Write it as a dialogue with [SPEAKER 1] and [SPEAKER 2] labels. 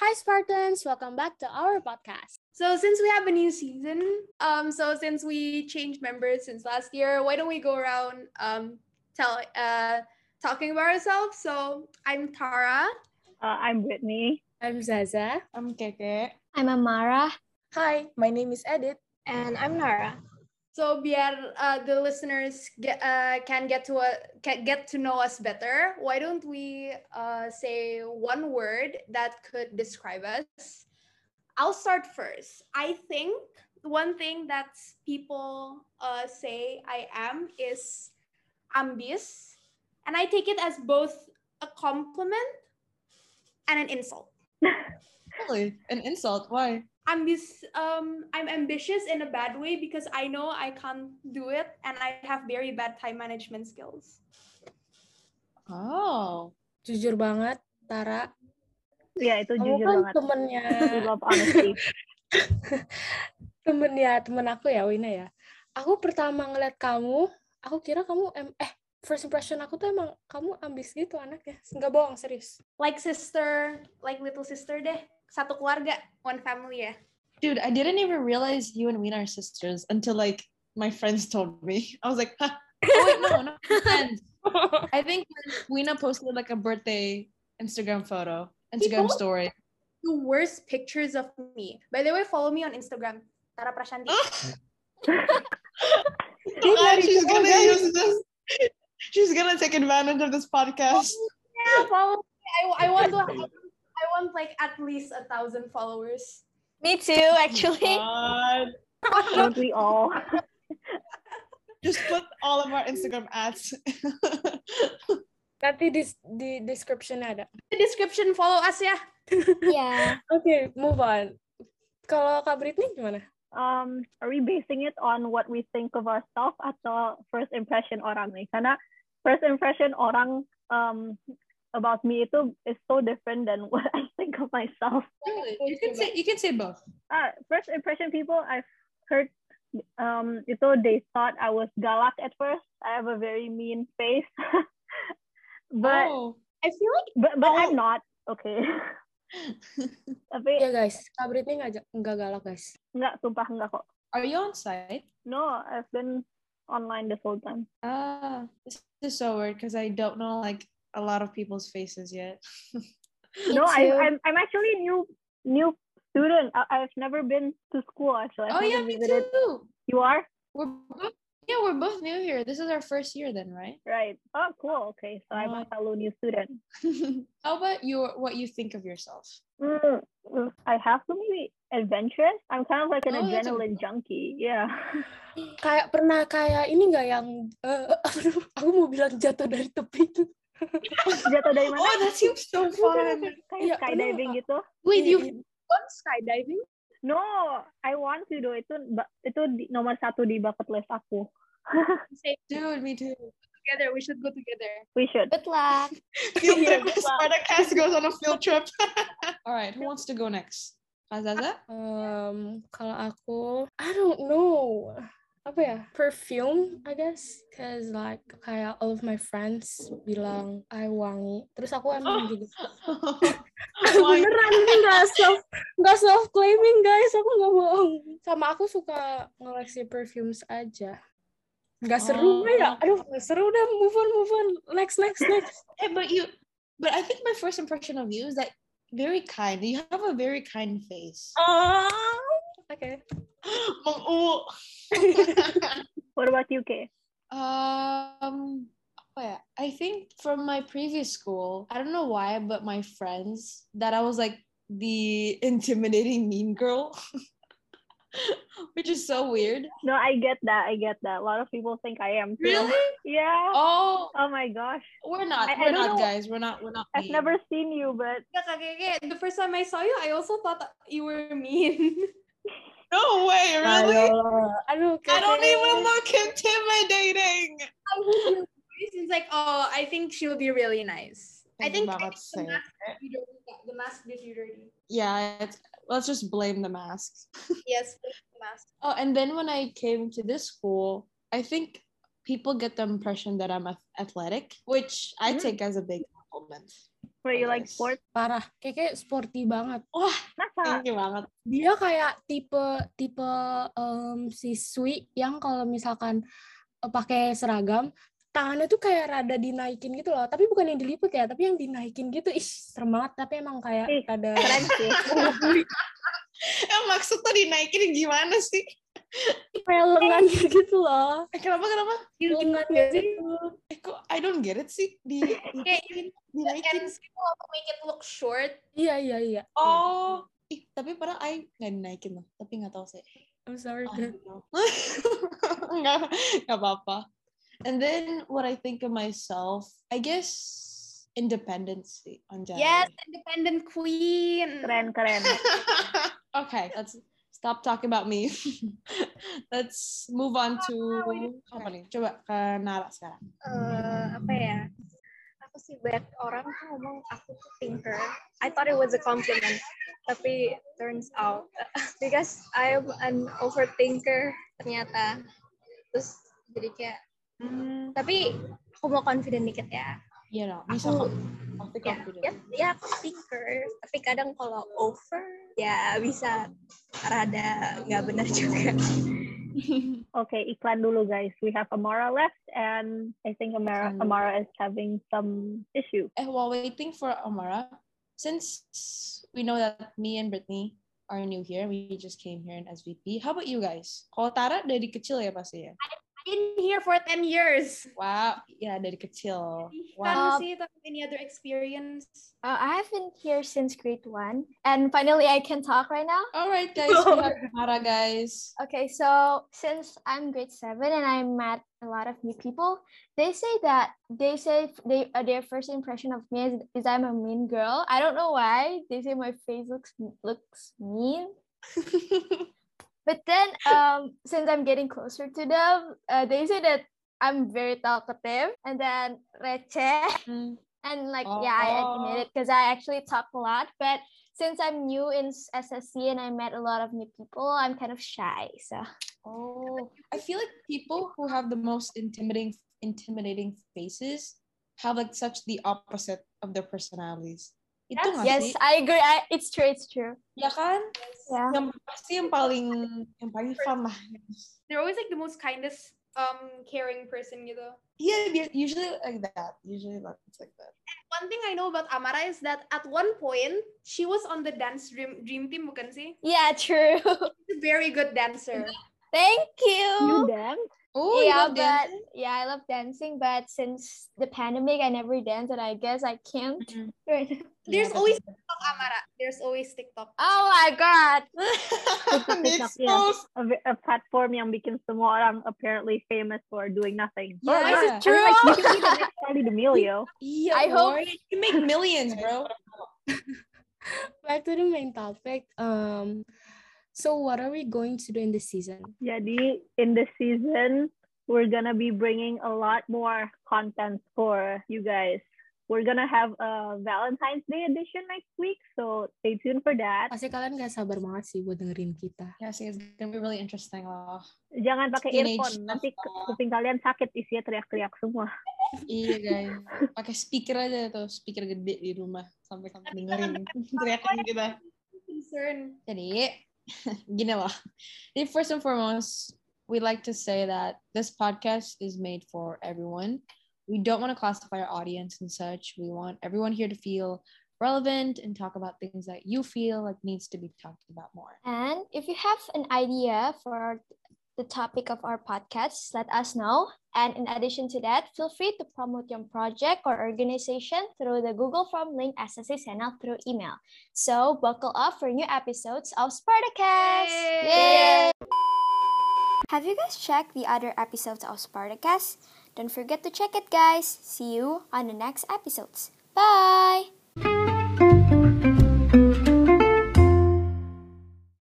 [SPEAKER 1] Hi Spartans, welcome back to our podcast.
[SPEAKER 2] So since we have a new season, um, so since we changed members since last year, why don't we go around um, tell uh, talking about ourselves? So I'm Tara.
[SPEAKER 3] Uh, I'm Whitney.
[SPEAKER 1] I'm Zaza.
[SPEAKER 4] I'm Keke.
[SPEAKER 5] I'm Amara.
[SPEAKER 6] Hi, my name is Edith.
[SPEAKER 7] And I'm Nara.
[SPEAKER 2] So biar uh, the listeners get, uh, can get to uh, can get to know us better, why don't we uh, say one word that could describe us? I'll start first. I think one thing that people uh, say I am is ambitious, and I take it as both a compliment and an insult.
[SPEAKER 4] really, an insult? Why?
[SPEAKER 2] I'm this um I'm ambitious in a bad way because I know I can't do it and I have very bad time management skills.
[SPEAKER 4] Oh,
[SPEAKER 1] Jujur banget, Tara.
[SPEAKER 3] Ya itu
[SPEAKER 1] Kamu
[SPEAKER 4] Oh,
[SPEAKER 3] jujur
[SPEAKER 1] kan
[SPEAKER 3] banget.
[SPEAKER 1] temennya,
[SPEAKER 3] We love honesty.
[SPEAKER 1] temennya temen aku ya, Wina ya. Aku pertama ngeliat kamu, aku kira kamu em eh first impression aku tuh emang kamu ambis gitu anaknya. Enggak bohong, serius.
[SPEAKER 2] Like sister, like little sister deh. Satu keluarga, one family eh. ya.
[SPEAKER 4] dude, I didn't even realize you and Ween are sisters until like my friends told me. I was like, huh. oh, wait, no, not my friends. I think Weena posted like a birthday Instagram photo, Instagram
[SPEAKER 2] People-
[SPEAKER 4] story.
[SPEAKER 2] The worst pictures of me. By the way, follow me on Instagram. Tara Prashanti.
[SPEAKER 4] Oh, God, she's gonna use this. She's gonna take advantage of this podcast.
[SPEAKER 2] yeah, follow me. I, I want to have, I want like at least a thousand followers.
[SPEAKER 7] Me too, actually.
[SPEAKER 4] God.
[SPEAKER 3] Don't we all?
[SPEAKER 4] Just put all of our Instagram ads.
[SPEAKER 1] Nanti di, di description ada.
[SPEAKER 2] The description follow us ya.
[SPEAKER 5] Yeah.
[SPEAKER 1] Oke, move on. Kalau Kak Britney gimana?
[SPEAKER 3] Um, are we basing it on what we think of ourselves atau first impression orang nih? Karena first impression orang um, about me itu is so different than what I think of myself.
[SPEAKER 4] you can say you can say both.
[SPEAKER 3] Ah, first impression people I've heard um itu they thought I was galak at first. I have a very mean face. but
[SPEAKER 4] oh.
[SPEAKER 2] I feel like
[SPEAKER 3] but but I'm not okay. Tapi
[SPEAKER 1] Ya guys, Kak Britney nggak nggak galak guys.
[SPEAKER 3] enggak sumpah enggak kok.
[SPEAKER 4] Are you on site?
[SPEAKER 3] No, I've been online this whole time.
[SPEAKER 4] Ah, this is so weird because I don't know like a lot of people's faces yet. Oh,
[SPEAKER 3] no, I,
[SPEAKER 5] too.
[SPEAKER 3] I'm I'm actually a new new student. I, I've never been to school actually. I
[SPEAKER 4] oh yeah,
[SPEAKER 3] haven't
[SPEAKER 4] me
[SPEAKER 3] visited-
[SPEAKER 4] too.
[SPEAKER 3] You are
[SPEAKER 4] We're both yeah, we're both new here. This is our first year then, right?
[SPEAKER 3] right. Oh, cool. Okay, so I'm
[SPEAKER 4] Oh.
[SPEAKER 3] a fellow new student.
[SPEAKER 4] How about your what you think of yourself?
[SPEAKER 3] Mm, mm, I have to be adventurous. I'm kind of like an
[SPEAKER 4] Oh, that's a-
[SPEAKER 3] adrenaline junkie. Yeah.
[SPEAKER 1] Kayak pernah kayak ini nggak yang eh, aduh, aku mau bilang jatuh dari tepi itu.
[SPEAKER 3] Jatuh dari mana?
[SPEAKER 4] Oh, that seems so fun.
[SPEAKER 3] Kayak
[SPEAKER 1] iya,
[SPEAKER 3] skydiving
[SPEAKER 1] pernah.
[SPEAKER 3] gitu.
[SPEAKER 2] wait,
[SPEAKER 1] Iya,
[SPEAKER 2] you've
[SPEAKER 1] iya.
[SPEAKER 2] done skydiving?
[SPEAKER 3] No, I want to do itu ba- itu di, nomor satu di bucket list aku.
[SPEAKER 2] Say
[SPEAKER 4] Dude, me too.
[SPEAKER 2] together, we should go together.
[SPEAKER 3] We should.
[SPEAKER 5] Good luck.
[SPEAKER 4] Field trip. Spartacus goes on a field trip. All right, who wants to go next? Azaza?
[SPEAKER 1] Um, kalau aku, I don't know. Apa ya? Perfume, I guess. Cause like kayak all of my friends bilang I wangi. Terus aku emang juga
[SPEAKER 4] Oh, Why?
[SPEAKER 1] beneran ini nggak self nggak self claiming guys. Aku nggak bohong. Sama aku suka ngoleksi perfumes aja. Nggak seru
[SPEAKER 4] Oh.
[SPEAKER 1] nggak ya? Aduh, nggak seru udah move on move on. Next next next.
[SPEAKER 4] Eh, but you but I think my first impression of you is that very kind. You have a very kind face.
[SPEAKER 1] Oke.
[SPEAKER 4] Mang-u.
[SPEAKER 3] What about you, Kay?
[SPEAKER 4] um apa ya? I think from my previous school, I don't know why, but my friends that I was like the intimidating mean girl. Which is so weird.
[SPEAKER 3] No, I get that. I get that. A lot of people think I am. too. Yeah.
[SPEAKER 4] Oh,
[SPEAKER 3] Oh my gosh.
[SPEAKER 4] we're not.
[SPEAKER 3] I- I
[SPEAKER 4] we're
[SPEAKER 3] don't
[SPEAKER 4] not,
[SPEAKER 3] know.
[SPEAKER 4] guys. We're not. We're not.
[SPEAKER 3] I've
[SPEAKER 4] mean.
[SPEAKER 3] never seen you, but
[SPEAKER 2] Yeah, Kak Keke, the first time I saw you, I also thought that you were mean.
[SPEAKER 4] No way, really.
[SPEAKER 1] Aduh,
[SPEAKER 4] I don't
[SPEAKER 1] Keke.
[SPEAKER 4] even look intimidating.
[SPEAKER 2] I was your voice, It's like, oh, I think she'll be really nice. I
[SPEAKER 4] Thank
[SPEAKER 2] think, I
[SPEAKER 4] you, Mama,
[SPEAKER 2] think
[SPEAKER 4] say
[SPEAKER 2] the, mask did you dirty. Yeah, the mask did you dirty.
[SPEAKER 4] Yeah, it's, let's just blame the masks.
[SPEAKER 2] Yes, the mask.
[SPEAKER 4] Oh, and then when I came to this school, I think people get the impression that I'm ath- athletic, which I
[SPEAKER 3] Mhm.
[SPEAKER 4] take as a big compliment.
[SPEAKER 3] Where you like
[SPEAKER 4] Yes.
[SPEAKER 3] sports?
[SPEAKER 1] parah keke sporty banget
[SPEAKER 4] Wah,
[SPEAKER 3] Kenapa?
[SPEAKER 4] thank you banget.
[SPEAKER 1] dia kayak tipe tipe em, siswi yang kalau misalkan eh, pakai seragam tangannya tuh kayak rada dinaikin gitu loh tapi bukan yang diliput ya tapi yang dinaikin gitu ih serem banget tapi emang kayak
[SPEAKER 3] Ih,
[SPEAKER 1] rada
[SPEAKER 3] Keren sih.
[SPEAKER 4] Eh, maksudnya dinaikin gimana sih?
[SPEAKER 1] kayak lengannya gitu loh
[SPEAKER 4] Eh, kenapa kenapa?
[SPEAKER 3] ya.
[SPEAKER 1] lengannya gitu
[SPEAKER 4] Eh, kok I don't get it sih di
[SPEAKER 2] Kayak you can
[SPEAKER 4] dinaikin.
[SPEAKER 2] still make it look short.
[SPEAKER 1] iya iya iya
[SPEAKER 4] Oh, ih, tapi padahal I nggak dinaikin loh, tapi nggak tahu sih.
[SPEAKER 1] I'm sorry
[SPEAKER 4] I
[SPEAKER 3] Ah.
[SPEAKER 1] Dad.
[SPEAKER 4] don't know. nggak nggak apa-apa. And then what I think of myself, I guess independence sih, on general.
[SPEAKER 2] Yes, independent queen.
[SPEAKER 3] Keren, keren.
[SPEAKER 4] okay, let's stop talking about me. let's move on to apa nih? Coba ke Nara sekarang.
[SPEAKER 5] Eh, apa ya? Aku sih banyak orang tuh ngomong aku tuh thinker. I thought it was a compliment, tapi turns out because I'm an overthinker ternyata. Terus jadi kayak, hmm, tapi aku mau confident dikit ya.
[SPEAKER 4] You know, bisa
[SPEAKER 5] Aku-
[SPEAKER 4] kok.
[SPEAKER 5] ya, ya, ya aku thinker tapi kadang kalau over ya bisa rada nggak benar juga
[SPEAKER 3] Okay, iklan dulu guys. We have Amara left and I think Amara,
[SPEAKER 4] Iklan dulu.
[SPEAKER 3] Amara is having some issue.
[SPEAKER 4] Eh, while waiting for Amara, since we know that me and Brittany are new here, we just came here in SVP. How about you guys? Kalau Tara dari kecil ya pasti ya.
[SPEAKER 2] Been here for 10 years.
[SPEAKER 4] Wow, ya dari kecil.
[SPEAKER 2] Wow.
[SPEAKER 4] Wow.
[SPEAKER 2] sih, tapi any other experience?
[SPEAKER 8] Uh, I have been here since grade one, and finally I can talk right now.
[SPEAKER 4] Alright guys, we have Amara guys.
[SPEAKER 8] Okay, so since I'm grade seven and I met a lot of new people, they say that they say f- they uh, their first impression of me is, is I'm a mean girl. I don't know why they say my face looks looks mean. But then, um, since I'm getting closer to them, uh, they say that I'm very talkative and then receh.
[SPEAKER 4] Hmm.
[SPEAKER 8] And like, yeah, I admit it because I actually talk a lot. But since I'm new in s- SSC and I met a lot of new people, I'm kind of shy. So
[SPEAKER 4] Oh, I feel like people who have the most intimidating intimidating faces have like such the opposite of their personalities. Itu nggak
[SPEAKER 8] yes,
[SPEAKER 4] sih?
[SPEAKER 8] I agree. I, it's true. It's true.
[SPEAKER 4] Ya kan?
[SPEAKER 8] Yeah.
[SPEAKER 4] Yang pasti yang paling yang paling fun lah.
[SPEAKER 2] They're always like the most kindest, um, caring person gitu.
[SPEAKER 4] Yeah, bi- usually like that. Usually like it's like that.
[SPEAKER 2] One thing I know about Amara is that at one point she was on the dance dream dream team, bukan sih?
[SPEAKER 8] Yeah, true.
[SPEAKER 2] She's a very good dancer.
[SPEAKER 8] Thank
[SPEAKER 3] You
[SPEAKER 8] you.
[SPEAKER 3] dance?
[SPEAKER 4] Oh,
[SPEAKER 8] yeah,
[SPEAKER 4] you know,
[SPEAKER 8] but
[SPEAKER 4] dancing?
[SPEAKER 8] yeah, I love dancing. But since the pandemic, I never dance, and I guess I can't.
[SPEAKER 4] Mhm.
[SPEAKER 8] right now.
[SPEAKER 4] Yeah,
[SPEAKER 2] There's
[SPEAKER 4] but-
[SPEAKER 2] always TikTok Amara. There's always TikTok.
[SPEAKER 8] Oh my god.
[SPEAKER 4] Di
[SPEAKER 3] TikTok, ya.
[SPEAKER 4] expose.
[SPEAKER 3] A, a platform yang bikin semua orang apparently famous for doing nothing.
[SPEAKER 4] Yeah.
[SPEAKER 3] I'm like, you can be the next Charli D'Amelio.
[SPEAKER 4] Iya,
[SPEAKER 8] I hope-
[SPEAKER 4] boy. you make millions, bro.
[SPEAKER 1] back to the main topic um so what are we going to do in this season
[SPEAKER 3] Jadi in this season, we're gonna be bringing a lot more content for you guys. We're gonna have a Valentine's Day edition next week, so stay tuned for that.
[SPEAKER 1] pasti kalian gak sabar banget sih buat dengerin kita
[SPEAKER 4] Yeah, see, it's gonna be really interesting lah.
[SPEAKER 3] Jangan pakai
[SPEAKER 4] Teenage
[SPEAKER 3] earphone, nanti
[SPEAKER 4] love.
[SPEAKER 3] kuping kalian sakit isinya teriak-teriak semua.
[SPEAKER 4] Iya guys, pakai speaker aja tuh, speaker gede di rumah sampai sampai dengerin teriakan kita.
[SPEAKER 2] Concern.
[SPEAKER 4] Jadi, gini loh. Jadi first and foremost, we like to say that this podcast is made for everyone. We don't want to classify our audience and such. We want everyone here to feel relevant and talk about things that you feel like needs to be talked about more.
[SPEAKER 8] And if you have an idea for the topic of our podcast, let us know. And in addition to that, feel free to promote your project or organization through the Google Form link SSC sent out through email. So buckle up for new episodes of Spartacus!
[SPEAKER 2] Yay!
[SPEAKER 8] Have you guys checked the other episodes of Spartacus? Don't forget to check it, guys. See you on the next episodes. Bye!